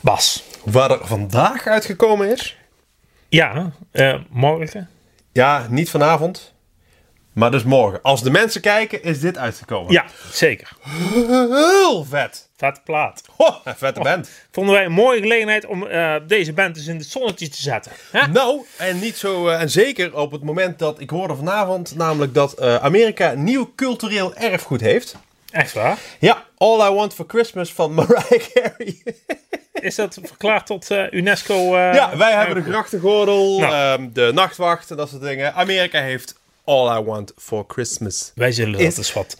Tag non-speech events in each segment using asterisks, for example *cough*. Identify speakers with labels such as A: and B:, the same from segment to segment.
A: Bas.
B: Waar er vandaag uitgekomen is.
A: Ja, eh, morgen.
B: Ja, niet vanavond. Maar dus morgen. Als de mensen kijken, is dit uitgekomen.
A: Ja, zeker.
B: Heel vet.
A: Vet plaat.
B: Ho, een vette band.
A: Vonden wij een mooie gelegenheid om eh, deze band eens in het zonnetje te zetten. Hè?
B: Nou, en niet zo. eh, en zeker op het moment dat ik hoorde vanavond, namelijk dat eh, Amerika nieuw cultureel erfgoed heeft.
A: Echt waar?
B: Ja, All I Want for Christmas van *laughs* Mariah Carey.
A: Is dat verklaard tot eh, UNESCO? eh,
B: ja, wij hebben de
A: erfgoed?
B: grachtengordel,
A: Nou.
B: ehm, de nachtwacht en dat soort dingen. Amerika heeft All I Want for Christmas.
A: Wij zullen
B: Is-
A: dat eens wat,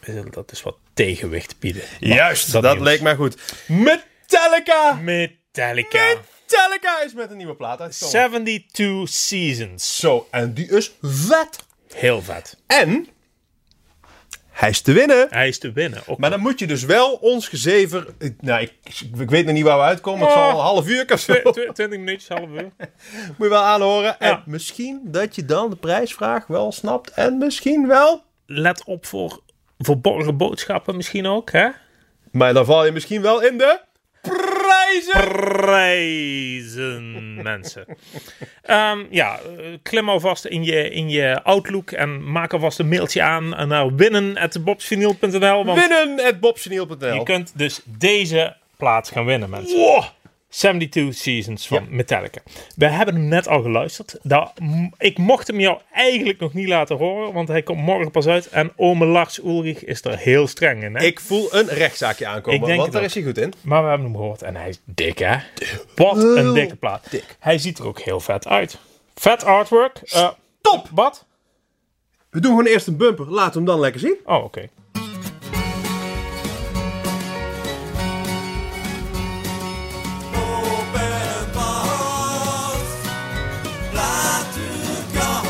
A: wij zullen dat eens wat tegenwicht bieden.
B: Juist, dat,
A: nieuws.
B: leek mij goed. Metallica!
A: Metallica.
B: Metallica is met een nieuwe plaat uitgekomen.
A: 72 Seasons.
B: Zo, en die is vet.
A: Heel vet.
B: En hij is te winnen.
A: Hij is te winnen. Ook
B: Maar dan moet je dus wel ons gezever... ik- Nou, ik, ik weet nog niet waar we uitkomen. Het zal
A: Oh.
B: al een half uur of *laughs* zo.
A: tw- tw- 20 minuutjes, half uur.
B: Moet je wel aanhoren. En
A: Ja.
B: misschien dat je dan de prijsvraag wel snapt. En misschien wel...
A: Let op voor verborgen boodschappen misschien ook, hè?
B: Maar dan val je misschien wel in de... Prijzen!
A: Prijzen, mensen. Ehm, ja, eh, klim alvast in je, in je Outlook en maak alvast een mailtje aan eh, naar winnen.bobsvinyl.nl. Want
B: Winnen at bobseniel.nl
A: je kunt dus deze plaats gaan winnen, mensen.
B: Wow.
A: 72 Seasons van Metallica. We hebben hem net al geluisterd. Daar- m- ik mocht hem jou eigenlijk nog niet laten horen, want hij komt morgen pas uit. En ome Lars Ulrich is er heel streng in. Hè?
B: Ik voel een rechtszaakje aankomen,
A: Ik denk
B: want
A: het
B: daar
A: ook.
B: is hij goed in.
A: Maar we hebben hem gehoord en hij is dik, hè? Wat een dikke plaat.
B: dik.
A: Hij ziet er ook heel vet uit. Vet artwork. Eh,
B: Top!
A: wat?
B: We doen gewoon eerst een bumper. Laat hem dan lekker zien.
A: Oh, oké.
C: Open mouth, laat u gaan.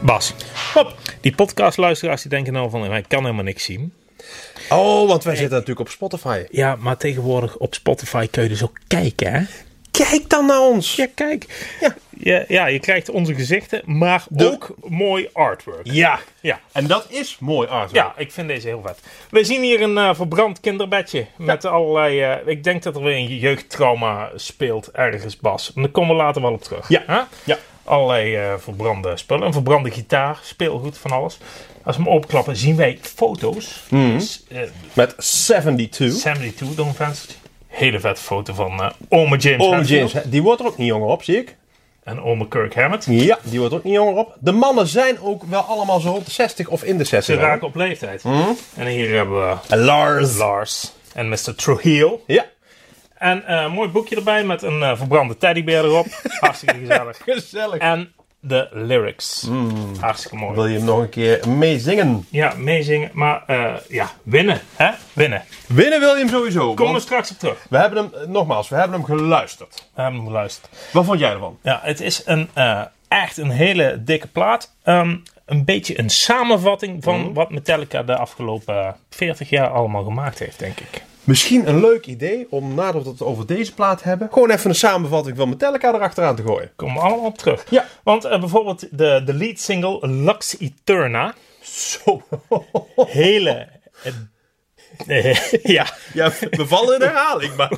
A: Bas. Hop. Die podcastluisteraars die denken nou van, hij kan helemaal niks zien.
B: Oh, want wij zitten natuurlijk op Spotify.
A: Ja, maar tegenwoordig op Spotify kun je dus ook kijken, hè?
B: Kijk dan naar ons.
A: Ja, kijk. Ja, ja, je krijgt onze gezichten, maar ook mooi artwork.
B: Ja.
A: Ja.
B: En dat is mooi, Arthur.
A: Ja, ik vind deze heel vet. We zien hier een eh, verbrand kinderbedje met allerlei... eh, ik denk dat er weer een jeugdtrauma speelt ergens, Bas. Maar Daar komen we later wel op terug.
B: Ja.
A: Hè?
B: Ja.
A: Allerlei eh, verbrande spullen. Een verbrande gitaar, speelgoed, van alles. Als we hem openklappen zien wij foto's. Dus, eh,
B: Met 72.
A: 72 Don Venster. Hele vette foto van eh ome James
B: Oom
A: Hetfield
B: James, hè, die wordt er ook niet jonger op, zie ik.
A: en ome Kirk Hammett.
B: Ja, die wordt er ook niet jonger op. De mannen zijn ook wel allemaal zo rond de 60 of in de
A: Ze
B: 60.
A: raken op leeftijd. En hier hebben we
B: En Lars.
A: Lars en Mr. Trujillo.
B: Ja.
A: En eh, een mooi boekje erbij met een eh, verbrande teddybeer erop. Hartstikke gezellig.
B: Gezellig.
A: En de lyrics. Hartstikke mooi.
B: Wil je hem nog een keer meezingen?
A: Ja, meezingen. Maar eh, ja, winnen. Hè? Winnen.
B: Winnen wil je hem sowieso.
A: Komen we
B: want
A: straks op terug.
B: We hebben hem, eh, nogmaals, we hebben hem geluisterd.
A: We hebben hem geluisterd.
B: Wat vond jij ervan?
A: Ja, het is een, eh, echt een hele dikke plaat. Ehm, een beetje een samenvatting van
B: Mhm.
A: wat Metallica de afgelopen 40 jaar allemaal gemaakt heeft, denk ik.
B: Misschien een leuk idee om nadat we het over deze plaat hebben, gewoon even een samenvatting van Metallica erachteraan te gooien.
A: Komen we allemaal op terug.
B: Ja.
A: Want eh, bijvoorbeeld de, de lead single Lux Eterna.
B: Zo. *laughs*
A: Hele. eh, eh, *laughs* ja,
B: Ja, we vallen in herhaling, maar.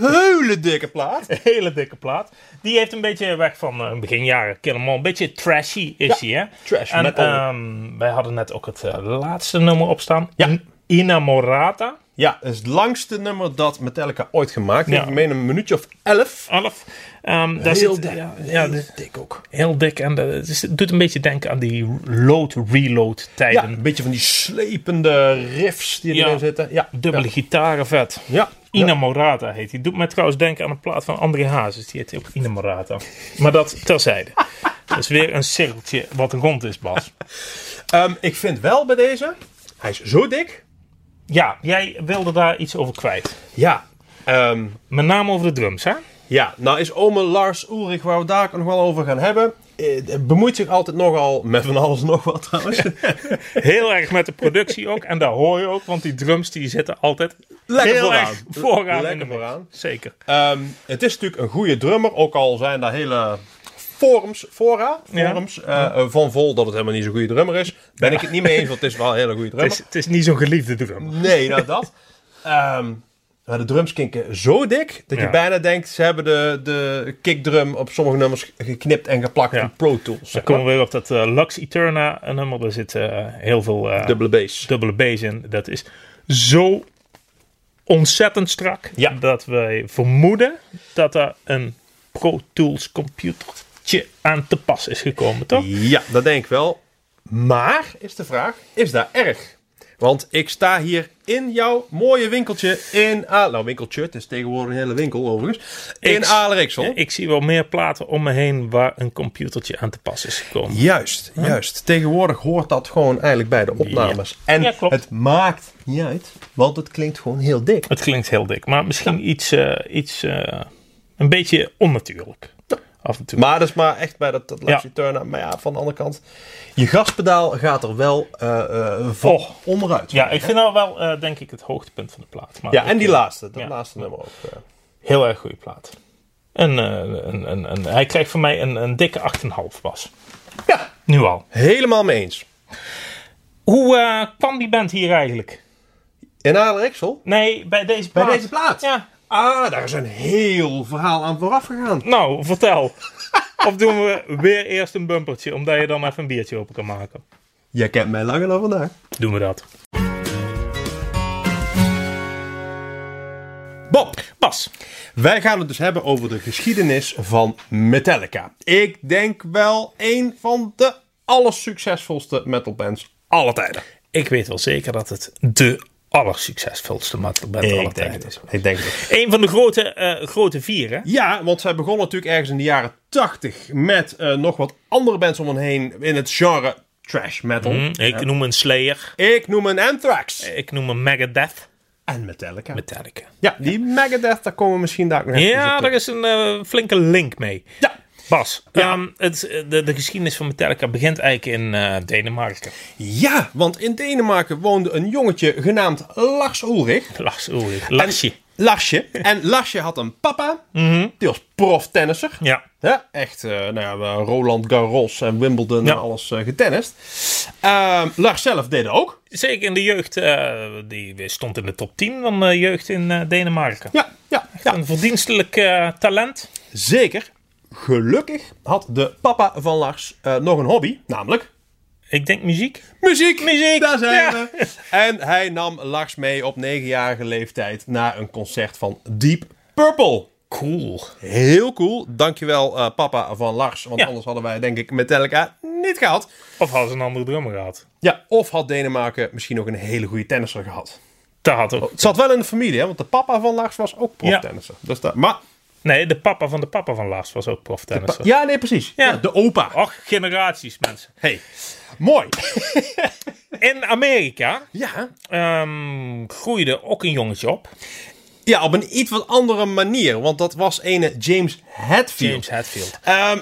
B: Hele dikke plaat.
A: hele dikke plaat. Die heeft een beetje weg van eh, beginjaren Kill 'Em All. Een beetje trashy is hij, hè?
B: trash
A: en,
B: metal.
A: ehm, wij hadden net ook het eh, laatste nummer opstaan. Ja. Inamorata.
B: Ja, dat is het langste nummer dat Metallica ooit gemaakt heeft.
A: Ja.
B: Ik meen een minuutje of elf.
A: 11. Ehm, daar zit, Ja, ja,
B: heel
A: dus
B: dik ook.
A: heel dik. En dat het is- het doet een beetje denken aan die load-reload
B: Ja,
A: tijden.
B: een beetje van die slepende riffs die
A: Ja.
B: erin zitten. Ja,
A: Dubbele gitaren vet.
B: Ja. ja.
A: Ina Morata heet die. Doet mij trouwens denken aan een plaat van André Hazes. Die heet ook Ina Morata. Maar dat
B: *laughs*
A: terzijde. Dat is weer een cirkeltje wat rond is, Bas.
B: Ehm, ik vind wel bij deze, hij is zo dik.
A: Ja, jij wilde daar iets over kwijt.
B: Ja. Ehm,
A: Met name over de drums, hè?
B: ja, nou is ome Lars Ulrich, waar we daar ook nog wel over gaan hebben, eh, bemoeit zich altijd nogal met van alles en nog wat
A: *laughs*
B: trouwens.
A: Heel erg met de productie ook. En daar hoor je ook, want die drums die zitten altijd
B: Lekker
A: heel
B: vooraan.
A: erg vooraan. in
B: Lekker
A: de mix.
B: vooraan.
A: Zeker.
B: Ehm, het is natuurlijk een goede drummer, ook al zijn daar hele forums, fora,
A: Ja.
B: forums eh, eh, van vol dat het helemaal niet zo'n goede drummer is. Ben ik het niet mee eens, want het is wel een hele goede
A: Het
B: drummer.
A: is, het is niet zo'n geliefde drum.
B: Nee, nou dat. Ehm, maar de drums kinken zo dik dat
A: Ja.
B: je bijna denkt ze hebben de, de kickdrum op sommige nummers geknipt en geplakt
A: Ja.
B: in Pro Tools.
A: Dan
B: Zeg
A: komen
B: maar.
A: we weer op dat eh, Lux Eterna eh, nummer. Daar zit eh, heel veel eh,
B: Dubbele bass.
A: dubbele bass in. Dat is zo ontzettend strak
B: Ja.
A: dat wij vermoeden dat er een Pro Tools computertje aan te pas is gekomen, toch?
B: Ja, dat denk ik wel. Maar is de vraag, is dat erg? Want ik sta hier in jouw mooie winkeltje in Aal... Nou, winkeltje, het is tegenwoordig een hele winkel overigens. In
A: Ik-
B: Aleriksel.
A: Ik zie wel meer platen om me heen waar een computertje aan te pas is gekomen.
B: Juist, juist. Tegenwoordig hoort dat gewoon eigenlijk bij de opnames. En
A: Ja, klopt.
B: het maakt niet uit, want het klinkt gewoon heel dik.
A: Het klinkt heel dik, maar misschien iets, eh, iets eh, een beetje onnatuurlijk. Af en toe.
B: Maar dat is maar echt bij dat, dat Lexi
A: Ja.
B: Turner. Maar ja, van de andere kant, je gaspedaal gaat er wel eh eh van
A: Och.
B: onderuit.
A: Oh. ja, ik vind dat wel, eh, denk ik, het hoogtepunt van de plaat. Maar
B: Ja,
A: ik,
B: en die
A: eh,
B: laatste, dat
A: ja.
B: laatste nummer ook. eh.
A: Heel erg goede plaat. En, eh, een, een, een, hij krijgt van mij een, een dikke 8,5 pas.
B: Ja,
A: Nu al.
B: helemaal mee eens.
A: Hoe eh, kwam die band hier eigenlijk?
B: In Aardrijksel?
A: Nee, bij deze
B: Bij
A: plaat.
B: deze plaat?
A: Ja.
B: Ah, daar is een heel verhaal aan vooraf gegaan. *laughs*
A: Nou, vertel. of doen we weer eerst een bumpertje, omdat je dan even een biertje open kan maken?
B: Jij kent mij langer dan vandaag.
A: Doen we dat.
B: Bob,
A: Pas.
B: wij gaan het dus hebben over de geschiedenis van Metallica. Ik denk wel een van de allersuccesvolste metalbands aller tijden.
A: Ik weet wel zeker dat het de allersuccesvolste metal band aller tijden is.
B: Ik denk het.
A: Een van de grote, eh, grote vier, hè?
B: Ja, want zij begon natuurlijk ergens in de jaren 80 met eh, nog wat andere bands om hen heen in het genre trash metal.
A: Hm, Ik noem een Slayer.
B: Ik noem een Anthrax.
A: Ik noem een Megadeth.
B: En Metallica.
A: Metallica.
B: Ja, die Megadeth, daar komen we misschien daar nog even
A: Ja,
B: op terug.
A: daar is een eh, flinke link mee.
B: Ja.
A: Bas, ehm, het, de, de geschiedenis van Metallica begint eigenlijk in eh, Denemarken. *laughs*
B: ja, want in Denemarken woonde een jongetje genaamd Lars Ulrich.
A: Lars Ulrich. Larsje.
B: Larsje. *laughs* En Larsje had een papa. Die was proftennisser.
A: Ja.
B: Ja, echt, eh, nou ja, we- Roland Garros en Wimbledon
A: Ja.
B: en alles eh, getennist. Ehm, Lars zelf deed het ook.
A: Zeker in de jeugd. eh, die stond in de top 10 van de jeugd in eh, Denemarken.
B: Ja, ja, ja.
A: Een verdienstelijk eh, talent.
B: Zeker. Gelukkig had de papa van Lars eh, nog een hobby, namelijk
A: Ik denk muziek.
B: muziek. Muziek, daar zijn
A: ja.
B: we. En hij nam Lars mee op negenjarige leeftijd naar een concert van Deep Purple.
A: Cool.
B: Heel cool. Dankjewel eh, papa van Lars, want
A: Ja.
B: anders hadden wij denk ik Metallica niet gehad.
A: Of hadden ze een andere drummer gehad?
B: Ja, of had Denemarken misschien nog een hele goede tennisser gehad.
A: Dat had ook.
B: Het zat wel in de familie, hè, want de papa van Lars was ook proftennisser. Dus dat, maar,
A: Nee, de papa van de papa van Lars was ook proftennisser.
B: ja, nee, precies.
A: Ja.
B: Ja. Oh. de opa.
A: Och, generaties mensen.
B: Hey, mooi.
A: In Amerika
B: *laughs* ja.
A: ehm, groeide ook een jongetje op.
B: ja, op een iets wat andere manier, want dat was ene James Hetfield.
A: James Hetfield.
B: Ehm,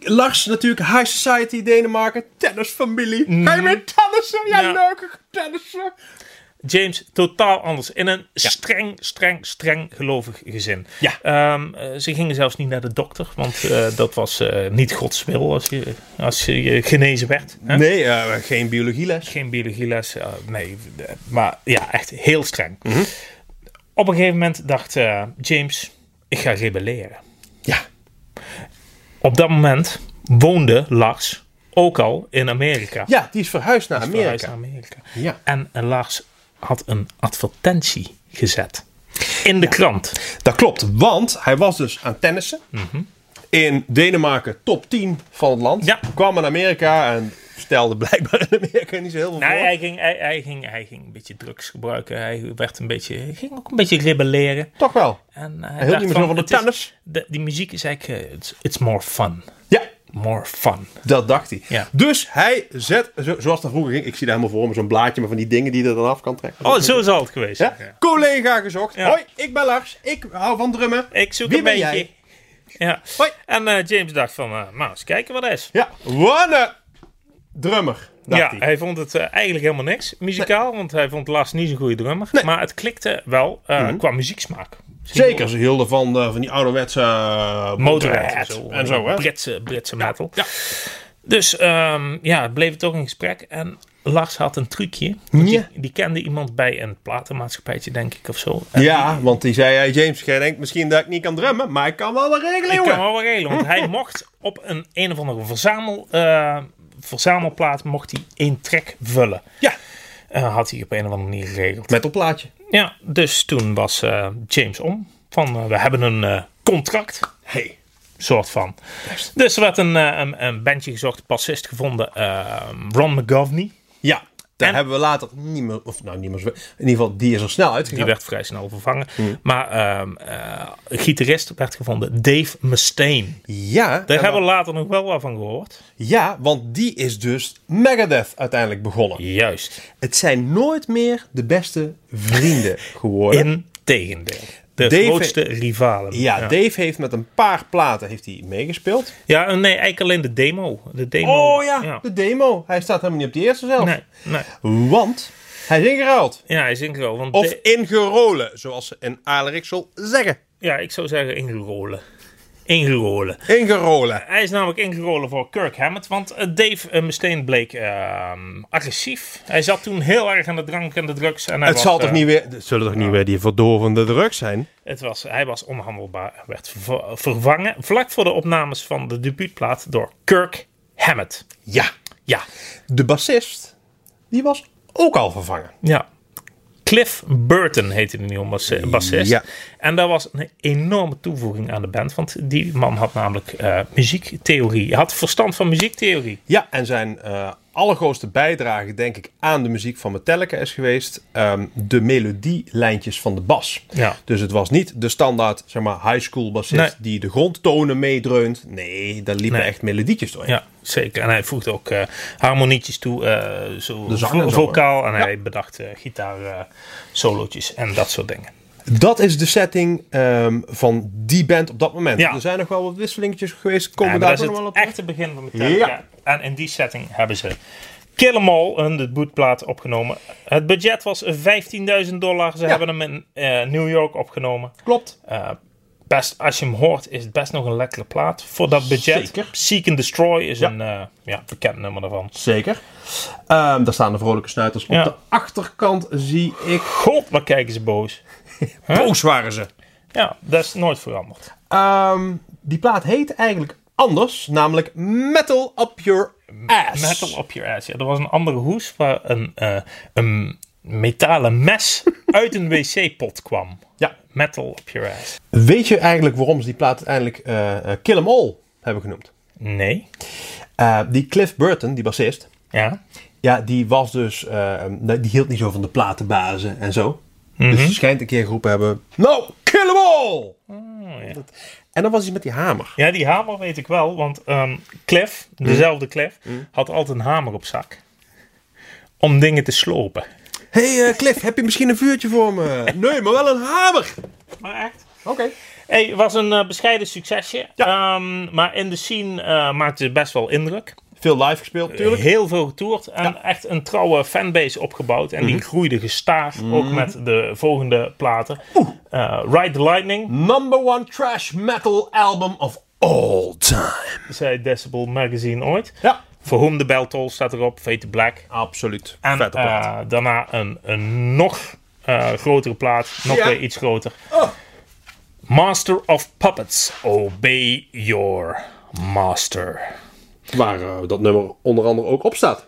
B: Lars natuurlijk, High Society Denemarken, tennisfamilie. Ga je weer tennissen? Ja,
A: Mm. Ja.
B: leuk, tennissen.
A: James totaal anders. In een streng, streng, streng gelovig gezin.
B: Ja.
A: Ehm, eh, ze gingen zelfs niet naar de dokter, want eh, dat was eh, niet Gods wil als je, als je eh, genezen werd. hè?
B: Nee, eh, geen biologieles.
A: Geen biologieles, eh, nee. eh, Maar ja, echt heel streng.
B: Mhm.
A: Op een gegeven moment dacht eh, James, ik ga rebelleren.
B: Ja.
A: Op dat moment woonde Lars ook al in Amerika.
B: Ja, die is verhuisd naar Amerika.
A: Verhuisd naar Amerika.
B: Ja.
A: En, eh, Lars had een advertentie gezet in de krant.
B: Dat klopt, want hij was dus aan tennissen. In Denemarken top 10 van het land.
A: Mhm. Ja.
B: Kwam naar Amerika en stelde blijkbaar in Amerika niet zo heel veel
A: Nee,
B: voor.
A: hij ging, hij, hij, ging, hij ging een beetje drugs gebruiken. Hij werd een beetje, hij ging ook een beetje rebelleren.
B: Toch wel.
A: En eh, hij
B: hield
A: dacht
B: niet meer zo van de
A: het is-
B: tennis.
A: de- die muziek is eigenlijk, eh, it's, it's more fun.
B: Ja,
A: More fun.
B: dat dacht hij.
A: Ja.
B: Dus hij zet, zo- zoals dat vroeger ging, ik zie daar helemaal voor me zo'n blaadje maar van die dingen die je er dan af kan trekken.
A: Oh, zo zal het geweest
B: Ja?
A: zijn. Ja.
B: Collega gezocht.
A: Ja.
B: Hoi, ik ben Lars. Ik hou van drummen.
A: Ik zoek
B: Wie
A: een
B: ben
A: beetje.
B: jij?
A: Ja.
B: Hoi.
A: En eh, James dacht van, eh nou, eens kijken wat dat is.
B: Ja, wanne drummer, dacht
A: ja,
B: hij.
A: hij vond het eh, eigenlijk helemaal niks muzikaal, want hij vond Lars niet zo'n goede drummer. Maar het klikte wel eh, qua muzieksmaak.
B: Mhm. Zeker, ze hielden van, eh, van die ouderwetse eh,
A: Motorhead en zo.
B: en zo, hè?
A: Britse, Britse metal. Dus ehm, ja, het bleef toch een gesprek. En Lars had een trucje. Want
B: Ja.
A: Die, die kende iemand bij een platenmaatschappijtje, denk ik, of zo. En
B: Ja, want die zei, hey James, jij denkt misschien dat ik niet kan drummen, maar ik kan wel wat regelen,
A: Ik
B: jongen.
A: kan wel wat regelen, want
B: *laughs*
A: hij mocht op een een of andere verzamel, eh, verzamelplaat mocht hij één track vullen.
B: Ja,
A: Eh, had hij op een of andere manier geregeld.
B: met een plaatje.
A: Ja, dus toen was eh, James om. Van, eh, we hebben een eh, contract,
B: Hey.
A: soort van. Dus er werd een, eh, een, een bandje gezocht, bassist gevonden, eh, Ron McGovney.
B: Ja, daar
A: En-
B: hebben we later niet meer, of nou niet meer, zo- in ieder geval, die is er snel
A: Die
B: uitgegaan.
A: werd vrij snel vervangen.
B: Hmm.
A: Maar ehm, eh, een gitarist werd gevonden, Dave Mustaine.
B: Ja,
A: Daar
B: en
A: hebben we later nog wel wat van gehoord.
B: dan- ja, want die is dus Megadeth uiteindelijk begonnen.
A: Juist.
B: Het zijn nooit meer de beste *laughs* vrienden geworden.
A: Integendeel. De
B: Dave-
A: grootste rivalen.
B: Ja,
A: ja.
B: Dave heeft met een paar platen heeft hij meegespeeld.
A: Ja, eh, nee, eigenlijk alleen de demo. De demo.
B: Oh ja, de demo. Hij staat helemaal niet op die eerste zelf.
A: Nee, nee.
B: Want hij is ingeruild.
A: Ja, hij is ingerold. Want
B: Of
A: de-
B: ingerolen, zoals ze in Alerixel zeggen.
A: ja, ik zou zeggen ingerolen. Ingerolen.
B: Ingerolen.
A: Hij is namelijk ingerolen voor Kirk Hammett. Want eh, Dave eh, Mustaine bleek ehm, agressief. Hij zat toen heel erg aan de drank en de drugs. En hij
B: Het
A: was,
B: zal toch
A: eh,
B: niet weer, het zullen toch niet weer die verdovende drugs zijn?
A: Het was, hij was onhandelbaar. Werd ver- vervangen vlak voor de opnames van de debuutplaat door Kirk Hammett.
B: Ja.
A: Ja.
B: De bassist, die was ook al vervangen.
A: Ja. Cliff Burton heette de nieuwe bas- bassist.
B: Ja.
A: En dat was een enorme toevoeging aan de band. Want die man had namelijk eh, muziektheorie. Hij had verstand van muziektheorie.
B: Ja, en zijn eh allergrootste bijdrage, denk ik, aan de muziek van Metallica is geweest ehm, de melodielijntjes van de bas.
A: Ja.
B: Dus het was niet de standaard, zeg maar, high school bassist
A: Nee.
B: die de grondtonen meedreunt. Nee, daar liepen
A: Nee.
B: echt melodietjes doorheen.
A: Ja, zeker. En hij voegde ook eh, harmonietjes toe. eh zo
B: De zang en
A: vo-
B: zo,
A: vocaal. En hij bedacht eh gitaar eh, solootjes en dat soort dingen.
B: Dat is de setting ehm, van die band op dat moment.
A: Ja.
B: Er zijn nog wel wat wisselingetjes geweest. Komen
A: Ja,
B: daar ook
A: maar dat
B: nog
A: is
B: wel
A: het
B: op.
A: echte begin van Metallica.
B: Ja.
A: En in die setting hebben ze Kill 'Em All, hun debuutplaat, opgenomen. Het budget was 15.000 dollar. Ze hebben hem in eh, New York opgenomen.
B: Klopt.
A: Eh, best, als je hem hoort, is het best nog een lekkere plaat voor dat budget.
B: Zeker.
A: Seek and Destroy is een eh, ja, bekend nummer daarvan.
B: Zeker. Ehm, daar staan de vrolijke snuiters.
A: Ja.
B: Op de achterkant zie ik...
A: God, waar kijken ze boos.
B: Boos waren ze.
A: Ja, dat is nooit veranderd.
B: Ehm, die plaat heet eigenlijk anders. Namelijk Metal Up Your Ass.
A: Metal op your ass. Ja, er was een andere hoes waar een, eh, een metalen mes uit een wc-pot kwam.
B: Ja.
A: Metal op your ass.
B: Weet je eigenlijk waarom ze die plaat uiteindelijk eh, eh, Kill 'Em All hebben genoemd?
A: Nee.
B: Eh, die Cliff Burton, die bassist...
A: Ja.
B: Ja, die was dus... eh, die hield niet zo van de platenbazen en zo. Dus ze schijnt een keer geroepen hebben... No, kill 'em all! Dat- En dan was hij met die hamer.
A: Oh, ja, die hamer weet ik wel, want ehm, Cliff, dezelfde Cliff, had altijd een hamer op zak. Om dingen te slopen.
B: Hé hey, eh, Cliff, heb je misschien een vuurtje voor me? Nee, maar wel een hamer!
A: Maar echt?
B: Oké.
A: Hey, het was een eh, bescheiden succesje. Ehm, maar in de scene eh, maakte het best wel indruk.
B: Veel live gespeeld, tuurlijk.
A: Heel veel getoerd en echt een trouwe fanbase opgebouwd. En
B: Mhm.
A: die groeide gestaag, ook met de volgende platen. Eh, Ride the Lightning,
B: Number one trash metal album of all time.
A: zei Decibel Magazine ooit.
B: Ja,
A: For Whom the Bell Tolls staat erop, Fate the Black.
B: absoluut.
A: En
B: Vette plaat.
A: eh, daarna een, een nog eh, grotere plaat. Nog
B: Ja.
A: weer iets groter.
B: Oh.
A: Master of Puppets. Obey your master.
B: Waar eh, dat nummer onder andere ook op staat.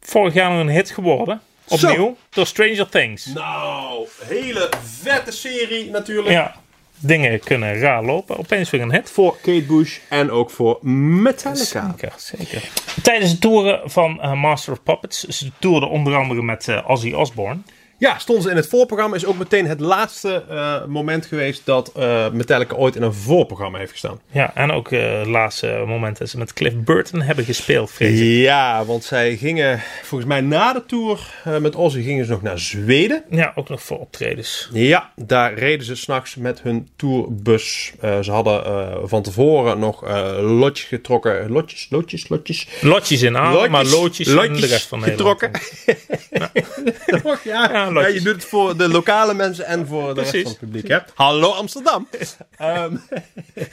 A: Vorig jaar nog een hit geworden.
B: Zo.
A: Opnieuw. Door Stranger Things.
B: Nou, hele vette serie natuurlijk.
A: Ja. Dingen kunnen raar lopen. Opeens weer een hit.
B: Voor Kate Bush en ook voor Metallica.
A: Zeker, zeker. Tijdens de toeren van eh, Master of Puppets. Ze toerden onder andere met eh, Ozzy Osbourne.
B: Ja, stonden ze in het voorprogramma. Is ook meteen het laatste eh, moment geweest dat eh, Metallica ooit in een voorprogramma heeft gestaan.
A: Ja, en ook eh, het laatste moment dat ze met Cliff Burton hebben gespeeld, vrees ik.
B: Ja, want zij gingen volgens mij na de tour eh, met Ozzy gingen ze nog naar Zweden.
A: Ja, ook nog voor optredens.
B: Ja, daar reden ze s'nachts met hun tourbus. Eh, ze hadden eh, van tevoren nog eh lotjes getrokken. Lotjes, lotjes, lotjes.
A: Lotjes in Aalen, Ah, maar loodjes in de
B: lotjes
A: rest van Nederland.
B: getrokken. ja, *laughs*
A: Ja,
B: ja,
A: lotjes.
B: je doet het voor de lokale mensen en voor de rest
A: Precies.
B: van het publiek. Hè? Hallo
A: *laughs*
B: Amsterdam. Ehm, *laughs*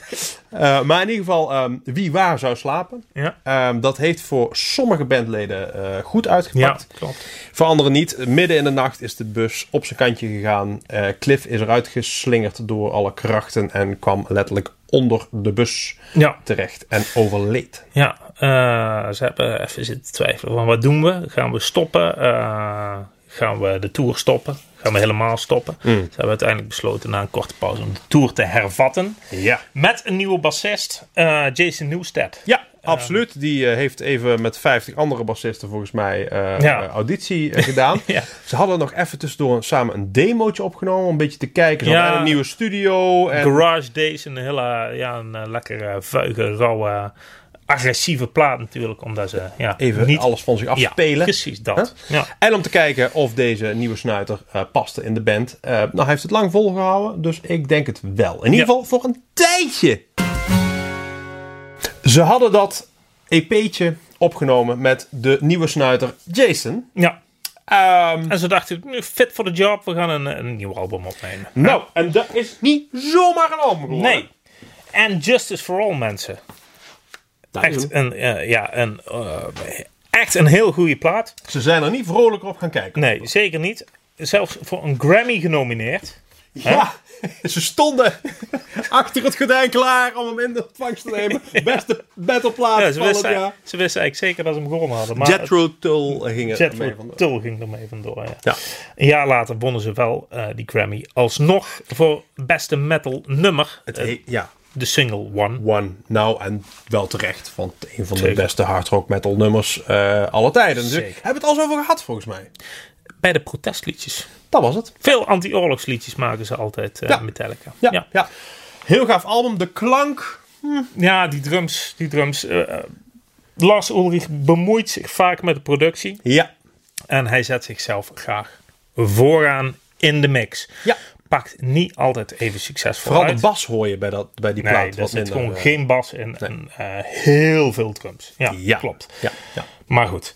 B: eh, maar in ieder geval, ehm, wie waar zou slapen,
A: Ja,
B: ehm, dat heeft voor sommige bandleden eh, goed
A: ja
B: uitgepakt.
A: klopt.
B: Voor anderen niet. Midden in de nacht is de bus op zijn kantje gegaan. Eh, Cliff is eruit geslingerd door alle krachten en kwam letterlijk onder de bus
A: Ja,
B: terecht en overleed.
A: ja eh, ze hebben even zitten twijfelen van wat doen we? Gaan we stoppen? Eh, gaan we de tour stoppen? Gaan we helemaal stoppen?
B: Mm.
A: Ze hebben uiteindelijk besloten na een korte pauze om de tour te hervatten.
B: Ja.
A: Met een nieuwe bassist, eh, Jason Newsted.
B: Ja, absoluut. Die eh, heeft even met 50 andere bassisten volgens mij eh,
A: Ja.
B: eh, auditie eh, gedaan.
A: *laughs* Ja.
B: Ze hadden nog even tussendoor een- samen een demootje opgenomen om een beetje te kijken. Ze
A: Ja.
B: hadden een nieuwe studio. En...
A: Garage Days, een hele ja, een eh, lekkere, vuige, rauwe, agressieve plaat natuurlijk. Omdat ze ja,
B: Even
A: niet
B: alles van zich
A: ja,
B: afspelen.
A: precies dat. Ja.
B: En om te kijken of deze nieuwe snuiter eh, paste in de band. Eh, nou, hij heeft het lang volgehouden, dus ik denk het wel. In ieder
A: Ja.
B: geval voor een tijdje. Ze hadden dat EP'tje opgenomen met de nieuwe snuiter Jason.
A: ja.
B: Ehm,
A: En ze dachten, nu fit voor de job, we gaan een, een nieuw album opnemen.
B: nou, en dat is niet zomaar een album geworden.
A: Nee. En Justice for All, mensen.
B: Dat is
A: Echt
B: hem.
A: een, eh, ja, een, eh, echt een heel goede plaat.
B: Ze zijn er niet vrolijker op gaan kijken.
A: Nee, zeker niet. Zelfs voor een Grammy genomineerd.
B: Ja, ze stonden *laughs* achter het gordijn klaar om hem in de ontvangst te nemen. Beste battleplaat
A: Ja, ze,
B: van het
A: wisten,
B: jaar.
A: ze wisten eigenlijk zeker dat ze hem gewonnen hadden. Maar het-
B: Jethro Tull ging er mee
A: Jethro
B: van.
A: Tull ging ermee vandoor. Ja.
B: Ja.
A: Een jaar later wonnen ze wel eh, die Grammy alsnog voor beste metal nummer.
B: Het
A: Eh,
B: he- ja,
A: de single One.
B: One. Nou, en wel terecht, want een van de
A: Zeker.
B: beste hard rock metal nummers eh alle tijden. Dus
A: Zeker.
B: hebben we het al zo over gehad, volgens mij.
A: Bij de protestliedjes.
B: Dat was het.
A: Veel anti-oorlogsliedjes maken ze altijd eh
B: Ja.
A: Metallica.
B: Ja, ja.
A: Ja.
B: Heel gaaf album. De klank.
A: Ja, die drums. Die drums eh, eh, Lars Ulrich bemoeit zich vaak met de productie.
B: Ja.
A: En hij zet zichzelf graag vooraan in de mix.
B: Ja.
A: Pakt niet altijd even succesvol
B: Vooral
A: uit.
B: de bas hoor je bij, dat, bij die
A: Nee,
B: plaat.
A: er
B: wat
A: zit
B: minder,
A: gewoon
B: eh,
A: geen bas in en eh, heel veel drums. Ja,
B: ja.
A: klopt.
B: Ja, ja.
A: Maar goed,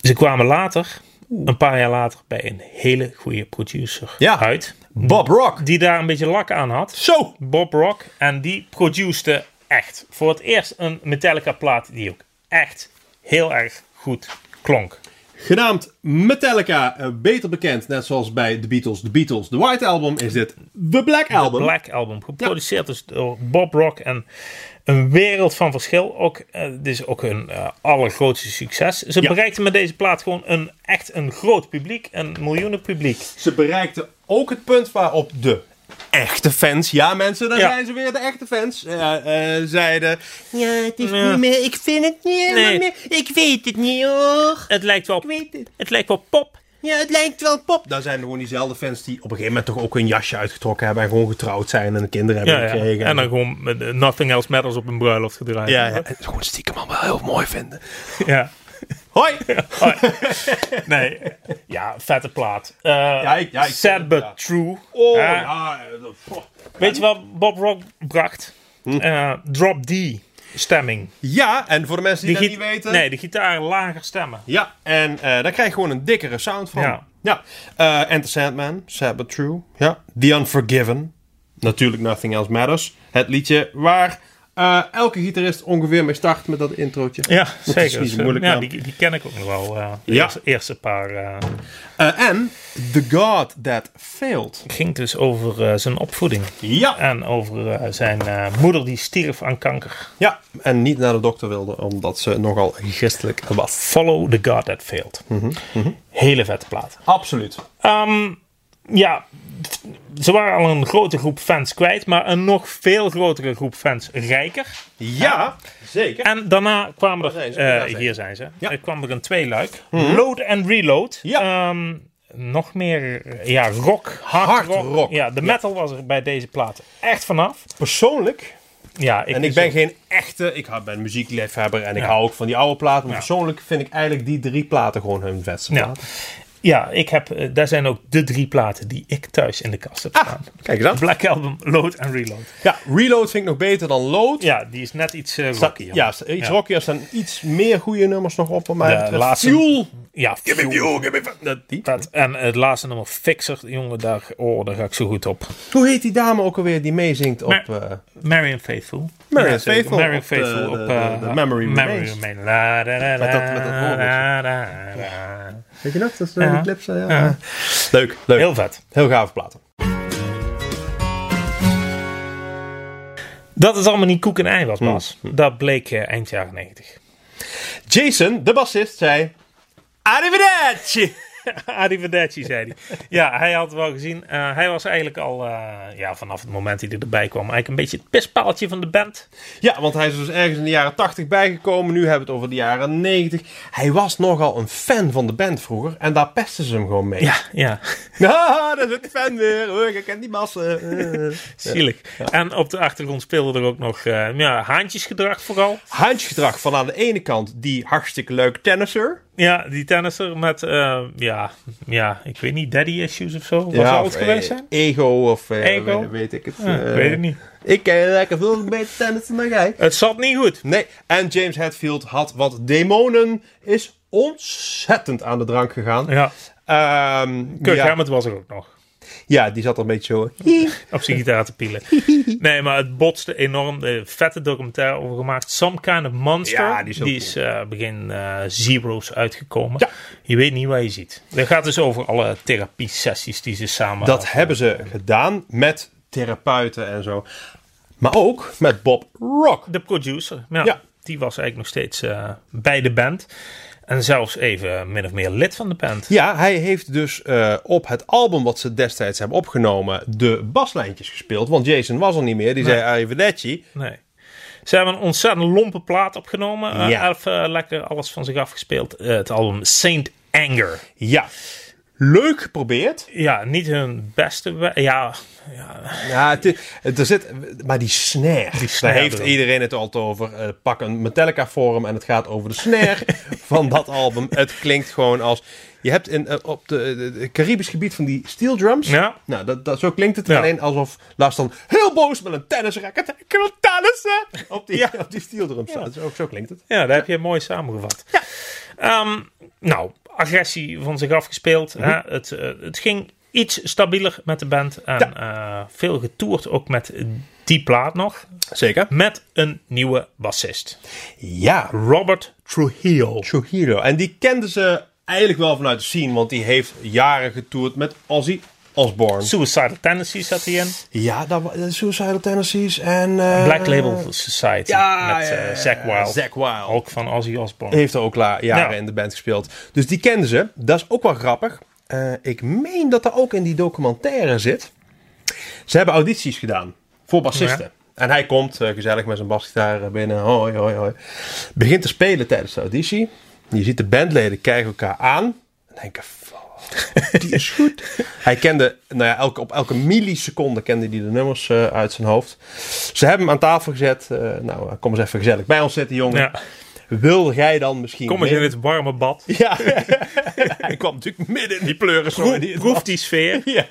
A: ze kwamen later, een paar jaar later, bij een hele goede producer
B: Ja.
A: uit.
B: Bob Rock.
A: Die daar een beetje lak aan had.
B: Zo.
A: Bob Rock. En die produceerde echt voor het eerst een Metallica plaat die ook echt heel erg goed klonk.
B: Genaamd Metallica, eh, beter bekend, net zoals bij The Beatles, The Beatles, The White Album, is dit The Black Album.
A: Black Album. Geproduceerd dus door Bob Rock. En een wereld van verschil. Ook, eh, dit is ook hun eh, allergrootste succes. Ze
B: Ja.
A: bereikten met deze plaat gewoon een, echt een groot publiek. Een miljoenen publiek.
B: Ze bereikten ook het punt waarop de echte fans, ja mensen, daar
A: Ja.
B: zijn ze weer, de echte fans, eh, eh, zeiden... Ja, het is
A: Ja.
B: niet meer, ik vind het niet helemaal
A: Nee.
B: meer, ik weet het niet hoor.
A: Het lijkt wel,
B: weet het.
A: het lijkt wel pop.
B: Ja, het lijkt wel pop. Daar zijn gewoon diezelfde fans die op een gegeven moment toch ook een jasje uitgetrokken hebben en gewoon getrouwd zijn en kinderen hebben
A: Ja,
B: gekregen.
A: ja. En dan gewoon met, eh, Nothing Else Matters op een bruiloft gedraaid.
B: ja, ja. En gewoon stiekem allemaal heel mooi vinden.
A: Ja.
B: Hoi!
A: Nee. Ja, vette plaat. Eh, ja,
B: ik- ja, ik-
A: sad but
B: ja.
A: true.
B: Oh,
A: Eh,
B: ja. eh, pff.
A: Weet je wat Bob Rock bracht?
B: Hm.
A: Eh, drop D stemming.
B: Ja, en voor de mensen die,
A: git-
B: dat niet weten.
A: Nee, de gitaar lager stemmen.
B: Ja, en eh, daar krijg je gewoon een dikkere sound van.
A: Ja.
B: ja. Eh, And the Sandman, Sad But True. Ja. The Unforgiven. Natuurlijk Nothing Else Matters. Het liedje waar eh, elke gitarist ongeveer mee start met dat introotje.
A: Ja,
B: is
A: zeker.
B: niet zo moeilijk,
A: ja,
B: ja.
A: die, die ken ik ook nog wel. eh, de
B: Ja.
A: eerste, eerste paar. eh.
B: Eh, en The God That Failed.
A: Het ging dus over eh, zijn opvoeding.
B: Ja.
A: En over eh, zijn eh, moeder die stierf aan kanker.
B: ja. En niet naar de dokter wilde, omdat ze nogal christelijk was.
A: Follow the God that failed.
B: Mhm,
A: Hele vette plaat.
B: Absoluut.
A: Ehm, ja, ze waren al een grote groep fans kwijt, maar een nog veel grotere groep fans rijker.
B: Ja, zeker.
A: En daarna kwamen er,
B: zijn ze,
A: eh,
B: daar zijn ze.
A: hier zijn ze,
B: Ja.
A: er kwam er een tweeluik. Load and Reload.
B: Mhm. Ja.
A: Ehm, nog meer eh, ja, rock, hard,
B: Hard
A: rock.
B: rock.
A: Ja, de metal was er bij deze platen echt vanaf.
B: Persoonlijk,
A: Ja,
B: en ik ben geen echte, ik hou- ben muziekliefhebber en ik
A: Ja.
B: hou ook van die oude platen, maar
A: Ja.
B: persoonlijk vind ik eigenlijk die drie platen gewoon hun vetste
A: Ja.
B: platen.
A: Ja, ik heb, eh, daar zijn ook de drie platen die ik thuis in de kast heb staan.
B: Ah, Kijk eens aan.
A: Black Album, Load en Reload.
B: Ja, Reload vind ik nog beter dan Load.
A: Ja, die is net iets eh
B: Sta-
A: rockier.
B: Ja, sta- iets
A: Ja.
B: rockier. Er staan iets meer goede nummers nog op.
A: De
B: Maar
A: laatste-
B: Fuel.
A: ja
B: Give me
A: Fuel.
B: fuel, give me fu- dat- die.
A: Dat, en het laatste nummer, Fixer, jongen, daar, oh, daar ga ik zo goed op.
B: Hoe heet die dame ook alweer die meezingt op...
A: Maar-
B: eh,
A: Marion Faithful.
B: Marian
A: Ja, zeker.
B: Faithfull
A: Marian
B: op de-
A: Faithfull
B: de-
A: op,
B: de-
A: eh,
B: de Memory Remains.
A: Remains. La, da, da,
B: Met dat- met dat
A: da,
B: hoornetje.
A: da, da, da.
B: weet je nog? Dat is
A: Ja.
B: die clips. eh, ja. Leuk, leuk. Heel,
A: Heel vet.
B: gave platen.
A: Dat het allemaal niet koek en ei was,
B: Hmm.
A: Bas. Dat bleek eh, eind jaren *laughs* 90.
B: Jason, de bassist, zei... Arrivederci!
A: Arrivederci, zei hij. Ja, hij had wel gezien. eh, hij was eigenlijk al, eh, ja, vanaf het moment dat hij erbij kwam, eigenlijk een beetje het pispaaltje van de band.
B: Ja, want hij is dus ergens in de jaren 80 bijgekomen. Nu hebben we het over de jaren 90. Hij was nogal een fan van de band vroeger. En daar pesten ze hem gewoon mee. *laughs*
A: Ja, ja.
B: Ah, daar zit de fan weer. Oh, ik ken die massa. Eh.
A: *laughs* Zielig. En op de achtergrond speelde er ook nog eh ja, haantjesgedrag vooral.
B: Handjesgedrag van aan de ene kant die hartstikke leuk tennisser.
A: Ja, die tennisser met, eh, ja, ja, ik weet niet, daddy issues of zo. Was dat
B: of,
A: ooit geweest
B: eh,
A: zijn?
B: Ego of eh,
A: Ego?
B: Weet, weet ik het.
A: Ja,
B: eh,
A: ik weet het niet.
B: Ik ken lekker veel beter tennissen dan jij.
A: Het zat niet goed.
B: Nee, en James Hetfield had wat demonen. Is ontzettend aan de drank gegaan.
A: Ja,
B: Ehm,
A: Kirk
B: ja,
A: Hammett was er ook nog.
B: ja, die zat er een beetje zo. eh,
A: Op zijn gitaar te
B: *laughs*
A: pielen. Nee, maar het botste enorm. Er is vette documentaire over gemaakt. Some Kind of Monster.
B: Ja, die is ook cool.
A: eh, begin eh, Zero's uitgekomen.
B: Ja.
A: Je weet niet wat je ziet. Dat gaat dus over alle therapie-sessies die ze samen
B: Dat hebben ze gedaan met therapeuten en zo. Maar ook met Bob Rock.
A: de producer. Ja,
B: Ja.
A: Die was eigenlijk nog steeds eh, bij de band. En zelfs even min of meer lid van de band.
B: Ja, hij heeft dus eh, op het album wat ze destijds hebben opgenomen de baslijntjes gespeeld. Want Jason was er niet meer. Die zei arrivederci.
A: Nee. Ze hebben een ontzettend lompe plaat opgenomen. Eh,
B: Ja.
A: Elf eh, lekker alles van zich afgespeeld. Eh, het album Saint Anger.
B: Ja. Leuk geprobeerd.
A: Ja, niet hun beste. we- Ja,
B: Ja, het is- het- er zit, maar die snare,
A: snare
B: daar heeft
A: erop.
B: iedereen het altijd over. Eh, pak een Metallica vorm en het gaat over de
A: *laughs*
B: snare van dat album. Het klinkt gewoon als... Je hebt in, eh, op het Caribisch gebied van die steel drums.
A: Ja.
B: Nou, dat, dat, zo klinkt het.
A: Ja.
B: Alleen alsof Lars dan heel boos met een tennisracket. Ik wil tennissen! Op die, *laughs* op die steel drums. staat. Zo, zo klinkt het.
A: ja daar heb je mooi samengevat. Ja. nou, agressie van zich afgespeeld. hè.
B: Mhm.
A: Het, eh, het ging iets stabieler met de band. En eh, veel getoerd ook met die plaat nog.
B: Zeker.
A: Met een nieuwe bassist.
B: Ja,
A: Robert Trujillo.
B: Trujillo. En die kenden ze eigenlijk wel vanuit de scene, want die heeft jaren getoerd met Ozzy Osbourne.
A: Suicidal Tendencies zat hij in.
B: ja, dat wa- eh, Suicidal Tendencies en... eh,
A: Black Label Society.
B: Ja,
A: met eh,
B: ja, ja,
A: Zack Wild.
B: Zack Wild.
A: Nou, Ook van Ozzy Osbourne.
B: Heeft er ook la- jaren
A: Ja.
B: in de band gespeeld. Dus die kenden ze. Dat is ook wel grappig. Eh, ik meen dat er ook in die documentaire zit. Ze hebben audities gedaan voor bassisten. En hij komt eh, gezellig met zijn basgitaar eh, binnen. Hoi, hoi, hoi. Begint te spelen tijdens de auditie. Je ziet de bandleden kijken elkaar aan. En denken, "Fuck, die is
A: *laughs*
B: goed. hij kende, nou ja, elke, op elke milliseconde kende hij de nummers eh, uit zijn hoofd. Ze hebben hem aan tafel gezet. Eh, nou, kom eens even gezellig bij ons zitten, jongen.
A: Ja.
B: Wil jij dan misschien.
A: Kom eens in
B: mee?
A: dit warme bad.
B: *laughs* Ja, hij kwam natuurlijk midden in die pleuris.
A: Proef, *laughs* proef die sfeer.
B: *laughs*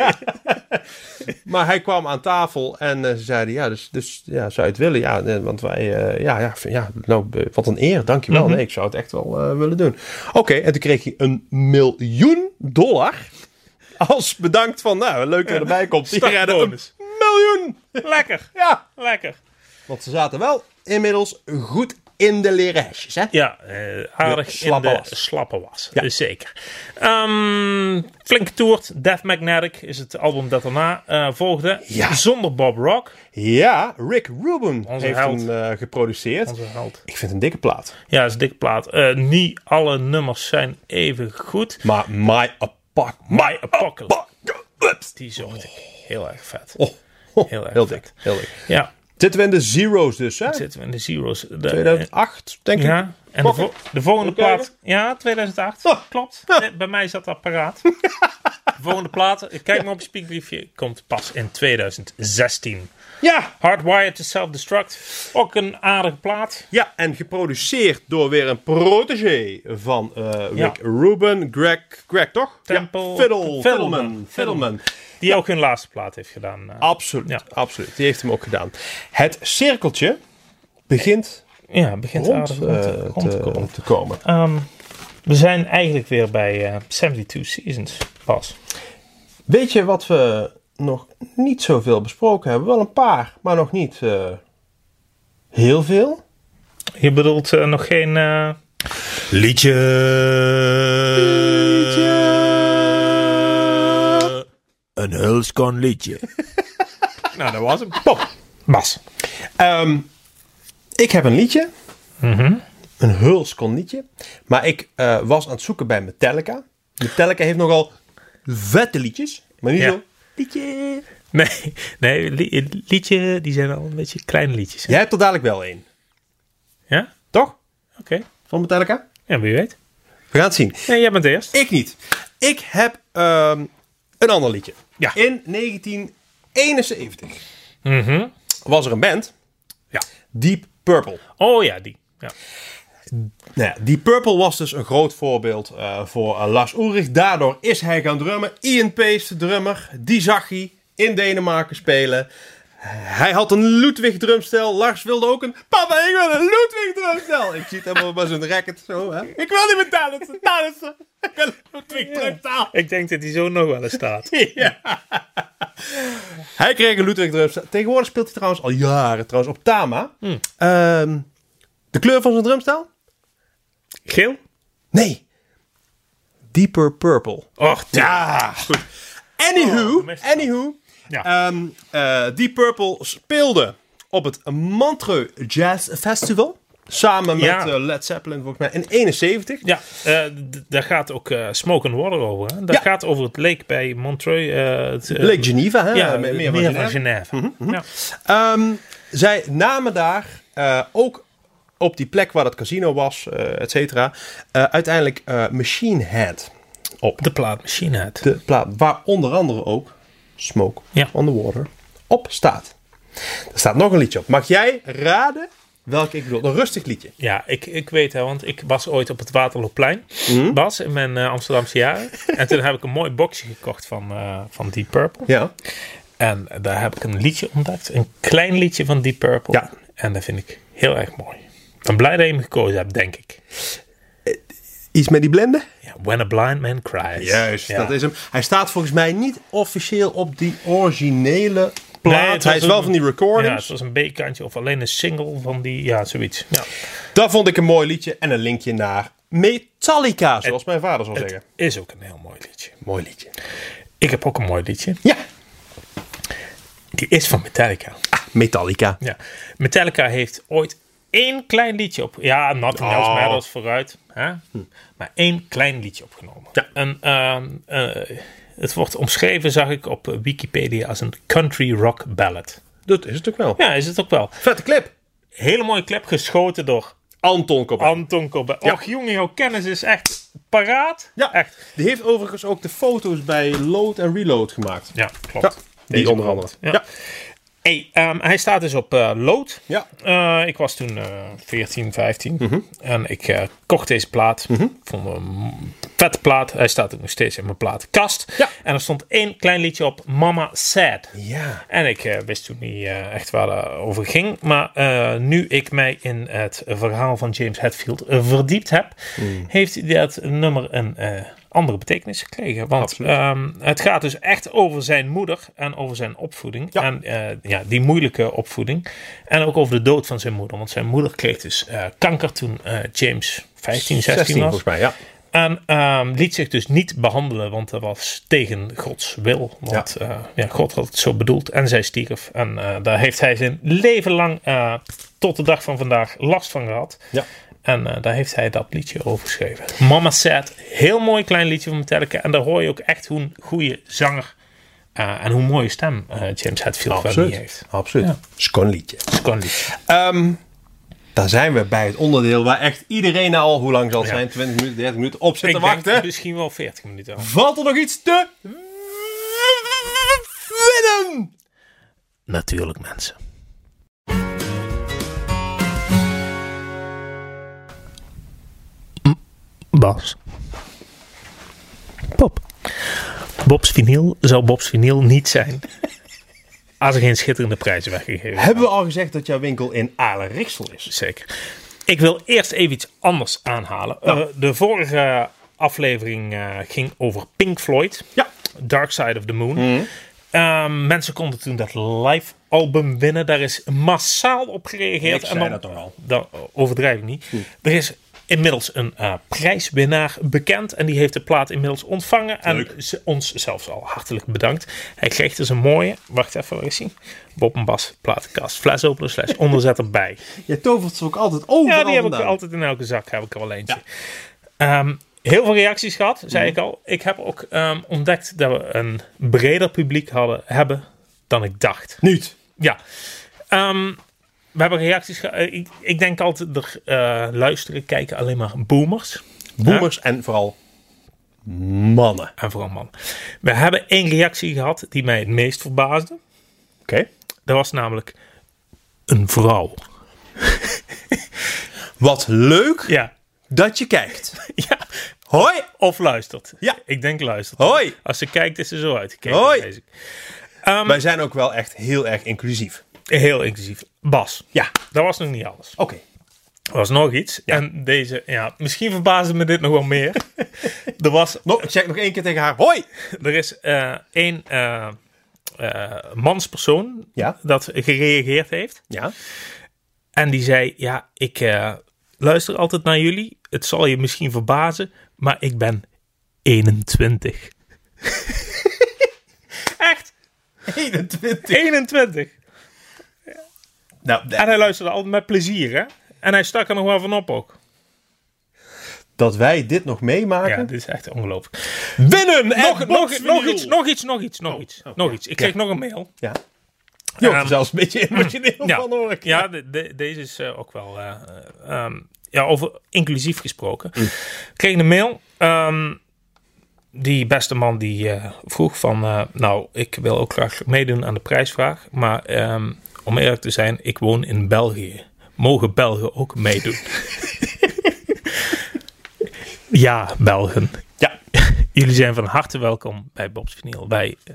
B: Maar hij kwam aan tafel en eh, ze zeiden: Ja, dus, dus ja, zou je het willen? Ja, eh, want wij, eh, ja, ja, vind- ja nou, eh, wat een eer, dankjewel. Nee, ik zou het echt wel eh, willen doen. Oké, en toen kreeg hij een miljoen dollar. Als bedankt van, nou, leuk dat je erbij komt. Die redden een
A: Startbonus.
B: miljoen.
A: Lekker.
B: Ja,
A: Lekker.
B: want ze zaten wel inmiddels goed in de leren hesjes, hè?
A: Ja, eh, aardig
B: De slappe
A: in de
B: was.
A: slappe was.
B: Ja.
A: Dus Zeker. Ehm flink toert. Death Magnetic is het album dat daarna eh, volgde.
B: Ja.
A: Zonder Bob Rock.
B: Ja, Rick Rubin
A: Onze
B: heeft
A: held.
B: hem eh, geproduceerd.
A: Onze held.
B: Ik vind het een dikke plaat.
A: Ja, dat is een dikke plaat. Eh, niet alle nummers zijn even goed.
B: Maar My Apoc...
A: My Apocalypse.
B: Apocalypse.
A: Die zocht ik. Heel erg vet.
B: Oh, *laughs*
A: Heel erg
B: heel
A: vet.
B: dik. Heel dik.
A: Ja,
B: Zitten we in de zeros dus, hè?
A: zitten we in de Zero's. De-
B: 2008, denk ik.
A: Ja, en de,
B: Pak
A: vo- de volgende
B: Even kijken.
A: plaat. Ja, 2008.
B: Oh.
A: *laughs* Klopt. Nee, Bij mij zat dat paraat. volgende plaat. Ik kijk maar op je speakbriefje. Komt pas in 2016.
B: Ja!
A: Hardwired to Self-Destruct. Ook een aardige plaat.
B: Ja, en geproduceerd door weer een protégé van eh, Rick
A: Ja.
B: Rubin. Greg, Greg toch?
A: Temple-
B: Ja, Fiddle,
A: Fiddleman.
B: Fiddleman. Fiddleman.
A: Die ook hun laatste plaat heeft gedaan. eh.
B: Absoluut,
A: Ja.
B: absoluut. Die heeft hem ook gedaan. Het cirkeltje begint
A: ja, begint
B: rond,
A: aardig rond, te-
B: eh,
A: rond te
B: te-
A: komen.
B: te komen.
A: Ehm, we zijn eigenlijk weer bij eh, 72 Seasons pas.
B: Weet je wat we nog niet zoveel besproken hebben? Wel een paar, maar nog niet eh, heel veel.
A: Je bedoelt eh, nog geen... eh,
B: Liedje.
D: Een hulskon liedje.
B: *laughs* Nou, dat was hem. Pop.
A: Bas.
B: Ehm, ik heb een liedje. Mhm. Een hulskon liedje. Maar ik eh, was aan het zoeken bij Metallica. Metallica heeft nogal vette liedjes. Maar niet
A: Ja.
B: zo liedje.
A: Nee, *laughs* nee li- liedje, die zijn al een beetje kleine liedjes. hè?
B: Jij hebt er dadelijk wel één.
A: Ja?
B: Toch?
A: Oké.
B: Van Metallica?
A: Ja, wie weet.
B: We gaan het zien.
A: Nee, jij bent eerst.
B: Ik niet. Ik heb ehm, een ander liedje.
A: Ja.
B: In 1971 Mhm. was er een band.
A: Ja.
B: Deep Purple.
A: Oh ja, die. Ja.
B: Nou ja, Deep Purple was dus een groot voorbeeld eh, voor eh, Lars Ulrich. Daardoor is hij gaan drummen. Ian Pace, de drummer, die zag hij in Denemarken spelen. Hij had een Ludwig drumstel. Lars wilde ook een... Papa, ik wil een Ludwig drumstel. Ik zie het helemaal bij zijn racket zo. Hè? Ik wil niet meer dansen. dansen. Ik wil een Ludwig drumstel.
A: Ik denk dat die zo nog wel eens staat.
B: Hij kreeg een Ludwig drumstel. Tegenwoordig speelt hij trouwens al jaren trouwens, op Tama.
A: Hmm.
B: Ehm, de kleur van zijn drumstel?
A: Geel?
B: Nee. Deeper Purple.
A: Och,
B: Ja, goed. Anywho,
A: Oh, mist.
B: anywho
A: Ja.
B: ehm, eh, Deep Purple speelde op het Montreux Jazz Festival. Samen met
A: Ja.
B: eh, Led Zeppelin, volgens mij, in 71.
A: Ja, eh, d- daar gaat ook eh, Smoke and Water over. Hè? Dat
B: Ja.
A: gaat over het lake bij Montreux. eh, het, eh,
B: Leek Geneva, hè?
A: ja,
B: Me-
A: meer,
B: van
A: van
B: Genève. Mhm,
A: Genève. ja.
B: Ehm, zij namen daar eh, ook op die plek waar dat casino was, eh et cetera, eh, uiteindelijk eh, Machine Head op.
A: De plaatmachine uit.
B: De plaat waar onder andere ook Smoke
A: Ja.
B: on the Water op staat. Er staat nog een liedje op. Mag jij raden welke ik bedoel? Een rustig liedje.
A: Ja, ik, ik weet hè, want ik was ooit op het Waterloopplein,
B: Mhm.
A: Bas, in mijn eh, Amsterdamse jaren. en toen heb ik een mooi boxje gekocht van, eh, van Deep Purple.
B: Ja.
A: En daar heb ik een liedje ontdekt, een klein liedje van Deep Purple.
B: Ja.
A: En dat vind ik heel erg mooi. Ik ben blij dat je hem gekozen hebt, denk ik.
B: Iets met die blende?
A: Ja, When a Blind Man Cries. Ja.
B: Dat is hem. Hij staat volgens mij niet officieel op die originele
A: Nee,
B: plaat.
A: het was
B: Hij is wel
A: een-
B: van die
A: Ja,
B: recordings.
A: het was een B-kantje of alleen een single van die, ja, zoiets. Ja.
B: Dat vond ik een mooi liedje en een linkje naar Metallica, zoals mijn vader zou zeggen.
A: Is ook een heel mooi liedje.
B: Mooi liedje.
A: Ik heb ook een mooi liedje.
B: Ja,
A: Die is van Metallica.
B: Metallica.
A: Ja. Metallica heeft ooit één klein liedje op. Ja, Nothing Else
B: Oh. Hm.
A: Matters vooruit. Hè? Maar één klein liedje opgenomen.
B: Ja.
A: En, ehm, eh, het wordt omschreven, zag ik op eh, Wikipedia, als een country rock ballad.
B: Dat is het ook wel.
A: Ja, is het ook wel.
B: Vette clip.
A: Hele mooie clip geschoten door
B: Anton Cobain.
A: Anton Corbijn. Och jongen, jouw kennis is echt paraat.
B: ja,
A: echt.
B: Die heeft overigens ook de foto's bij Load en Reload gemaakt.
A: Ja, klopt.
B: Ja, die onder andere.
A: Ja.
B: Ja.
A: Hey, ehm, hij staat dus op eh lood.
B: Ja. Mhm.
A: Eh, ik was toen eh 14, 15. En ik eh, kocht deze plaat. Vond hem een vette plaat. Hij staat ook nog steeds in mijn plaatkast.
B: Ja.
A: En er stond één klein liedje op. Mama Sad.
B: Ja.
A: En ik eh, wist toen niet eh, echt waar dat over ging. Maar eh, nu ik mij in het verhaal van James Hetfield eh, verdiept heb,
B: Hmm.
A: heeft dat nummer een eh, andere betekenis gekregen. Want ehm, het gaat dus echt over zijn moeder en over zijn opvoeding.
B: Ja.
A: En eh, ja, die moeilijke opvoeding. En ook over de dood van zijn moeder. Want zijn moeder kreeg dus eh, kanker toen eh, James 15, 16,
B: 16
A: was.
B: volgens mij, ja.
A: En ehm, liet zich dus niet behandelen, want dat was tegen Gods wil. Want ja. ja, God had het zo bedoeld en zij stierf. En eh, daar heeft hij zijn leven lang eh, tot de dag van vandaag last van gehad.
B: Ja.
A: En eh, daar heeft hij dat liedje over geschreven. Mama Said, heel mooi klein liedje van Metallica. En daar hoor je ook echt hoe een goede zanger eh, en hoe mooie stem eh, James Hetfield wel niet heeft.
B: Absoluut.
A: Ja.
B: Schoon liedje.
A: Dat is gewoon een liedje.
B: Ehm, daar zijn we bij het onderdeel waar echt iedereen nou al, hoe lang zal het
A: Ja.
B: zijn, 20 minuten, 30 minuten, op zit te
A: Ik denk
B: wachten.
A: misschien wel 40 minuten.
B: Valt er nog iets te
A: natuurlijk mensen. M- Bas. Bob. Bob's vinyl zou Bob's vinyl niet zijn. Als er geen schitterende prijzen weggegeven
B: Hebben we al gezegd dat jouw winkel in Alenriksel is?
A: Zeker. Ik wil eerst even iets anders aanhalen.
B: Nou.
A: Eh, de vorige aflevering eh, ging over Pink Floyd.
B: Ja. Mhm.
A: Dark Side of the Moon. Eh, mensen konden toen dat live album winnen. Daar is massaal op gereageerd.
B: Ik zei dat toch Hm. al.
A: Dan overdrijf ik niet. Er is inmiddels een eh, prijswinnaar bekend. En die heeft de plaat inmiddels ontvangen. En ze, ons zelfs al hartelijk bedankt. Hij kreeg dus een mooie... Wacht even, waar is hij? Bob en Bas, platenkast. Fles openen, slash onderzet erbij.
B: Je tovert ze ook altijd overal
A: Ja, die heb ik
B: vandaan.
A: altijd in elke zak. Heb ik er wel eentje. Ehm, heel veel reacties gehad, zei
B: Mhm.
A: ik al. Ik heb ook ehm, ontdekt dat we een breder publiek hadden, hebben dan ik dacht.
B: Niet.
A: Ja. Ehm, we hebben reacties gehad. Eh, Ik, ik denk altijd, er eh, luisteren, kijken alleen maar boomers.
B: Boomers en vooral mannen.
A: En vooral mannen. We hebben één reactie gehad die mij het meest verbaasde.
B: Oké.
A: Dat was namelijk een vrouw.
B: Wat leuk
A: Ja.
B: dat je kijkt.
A: *laughs* ja.
B: Hoi.
A: Of luistert.
B: Ja.
A: Ik denk luistert.
B: Hoi.
A: Als ze kijkt, is ze zo uitgekeken.
B: Hoi.
A: vrees ik.
B: Wij zijn ook wel echt heel erg inclusief.
A: Heel inclusief. Bas.
B: Ja.
A: Dat was nog niet alles.
B: Oké.
A: Er was nog iets. En deze, ja, misschien verbaasde me dit nog wel meer. *laughs* er, was,
B: Nog, ik zeg nog één keer tegen haar. Hoi.
A: er is eh één eh, eh, manspersoon
B: Ja.
A: dat gereageerd heeft.
B: *laughs* Ja.
A: En die zei, ja, ik eh, luister altijd naar jullie. Het zal je misschien verbazen, maar ik ben 21. *laughs* Echt?
B: 21.
A: 21.
B: Nou,
A: En hij luisterde altijd met plezier, hè? En hij stak er nog wel van op ook.
B: dat wij dit nog meemaken.
A: Ja, dit is echt ongelooflijk.
B: Winnen!
A: Nog, nog, Oh, nog iets, nog iets, nog iets, nog iets. nog iets. Ik kreeg nog een mail.
B: Ja. Je wordt er
A: Ehm,
B: zelfs een beetje emotioneel
A: Ja,
B: van hoor ik.
A: ja de- de- deze is eh, ook wel eh, eh, ehm, ja, over inclusief gesproken. Ik kreeg een mail. ehm, die beste man die eh, vroeg van, eh, nou, ik wil ook graag meedoen aan de prijsvraag. Maar ehm, om eerlijk te zijn, ik woon in België. Mogen Belgen ook *laughs* meedoen? ja, Belgen.
B: Ja.
A: Jullie zijn van harte welkom bij Bob's Vinyl. Wij, eh,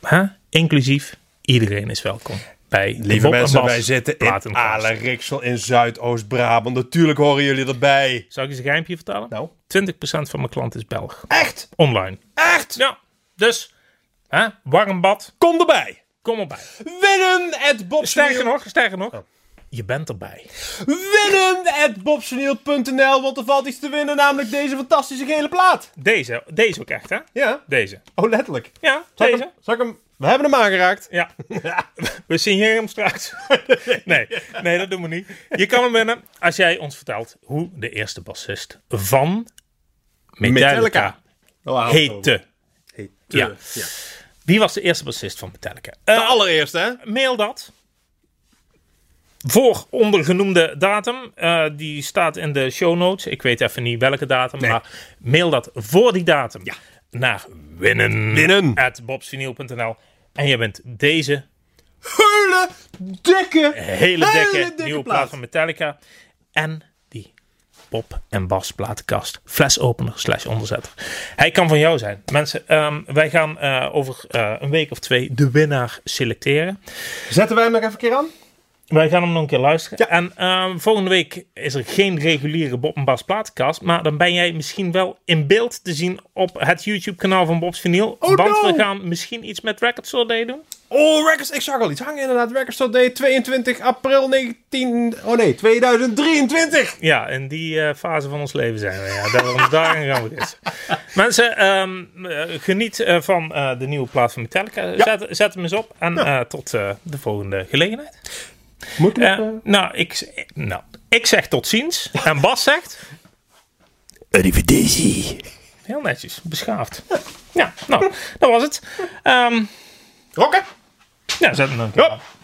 A: hè? inclusief, iedereen is welkom bij de
B: Lieve
A: Bob en
B: mensen,
A: Bas
B: wij zitten in
A: platenkast.
B: Alenriksel in Zuidoost-Brabant. Natuurlijk horen jullie erbij.
A: Zal ik eens een geheimje vertellen?
B: Nou.
A: 20% van mijn klant is Belg.
B: Echt?
A: Online.
B: Echt?
A: Ja, dus hè? warm bad,
B: Kom erbij.
A: kom erbij.
B: Winnen at
A: Sterker
B: Bobsoniel.
A: nog, sterker nog.
B: Oh.
A: Je bent erbij.
B: Winnen at Bobsoniel.nl, want er valt iets te winnen, namelijk deze fantastische gele plaat.
A: Deze, deze ook echt, hè?
B: Ja.
A: Deze.
B: Oh, letterlijk.
A: Ja,
B: Zal ik,
A: deze.
B: hem, zal ik hem... We hebben hem aangeraakt.
A: Ja. *laughs* We signeren hem straks. *laughs* Nee, nee, dat doen we niet. Je kan hem winnen als jij ons vertelt hoe de eerste bassist van Metallica,
B: Metallica. Oh, hou het over.
A: heette.
B: Heette.
A: Ja. Wie was de eerste bassist van Metallica? Eh,
B: De allereerste, hè?
A: mail dat. Voor ondergenoemde datum. Eh, die staat in de show notes. Ik weet even niet welke datum. Maar mail dat voor die datum. Naar winnen.
B: Winnen.
A: At bobsvinyl.nl. En je bent deze
B: Hele dikke,
A: hele dikke, nieuwe plaat.
B: plaat.
A: van Metallica. En die pop- en bas platenkast. Flesopener slash onderzetter. Hij kan van jou zijn. Mensen, ehm, wij gaan eh, over eh, een week of twee de winnaar selecteren.
B: Zetten wij hem nog even een keer aan?
A: Wij gaan hem nog een keer luisteren. En ehm, volgende week is er geen reguliere Bob en Bas platenkast. Maar dan ben jij misschien wel in beeld te zien op het YouTube kanaal van Bob's Vinyl. want
B: no!
A: we gaan misschien iets met Record Store Day doen.
B: Oh, Records, ik zag al iets hangen inderdaad. Records Store Day 22 april 19... Oh nee, 2023.
A: Ja, in die eh, fase van ons *laughs* leven zijn we. Ja. Daarom, daarin gaan we dit. Mensen, ehm, eh, geniet eh, van eh, de nieuwe plaat van Metallica. Zet, zet hem eens op. En eh, tot eh, de volgende gelegenheid.
B: Moet ik...
A: Eh, nou, ik, z- nou, ik zeg tot ziens. En Bas zegt...
B: eh,
D: Arrivederci.
A: Heel netjes, beschaafd. Ja, nou, dat was het. Ehm
B: Rokken?
A: ja, zet hem dan.
B: Ja.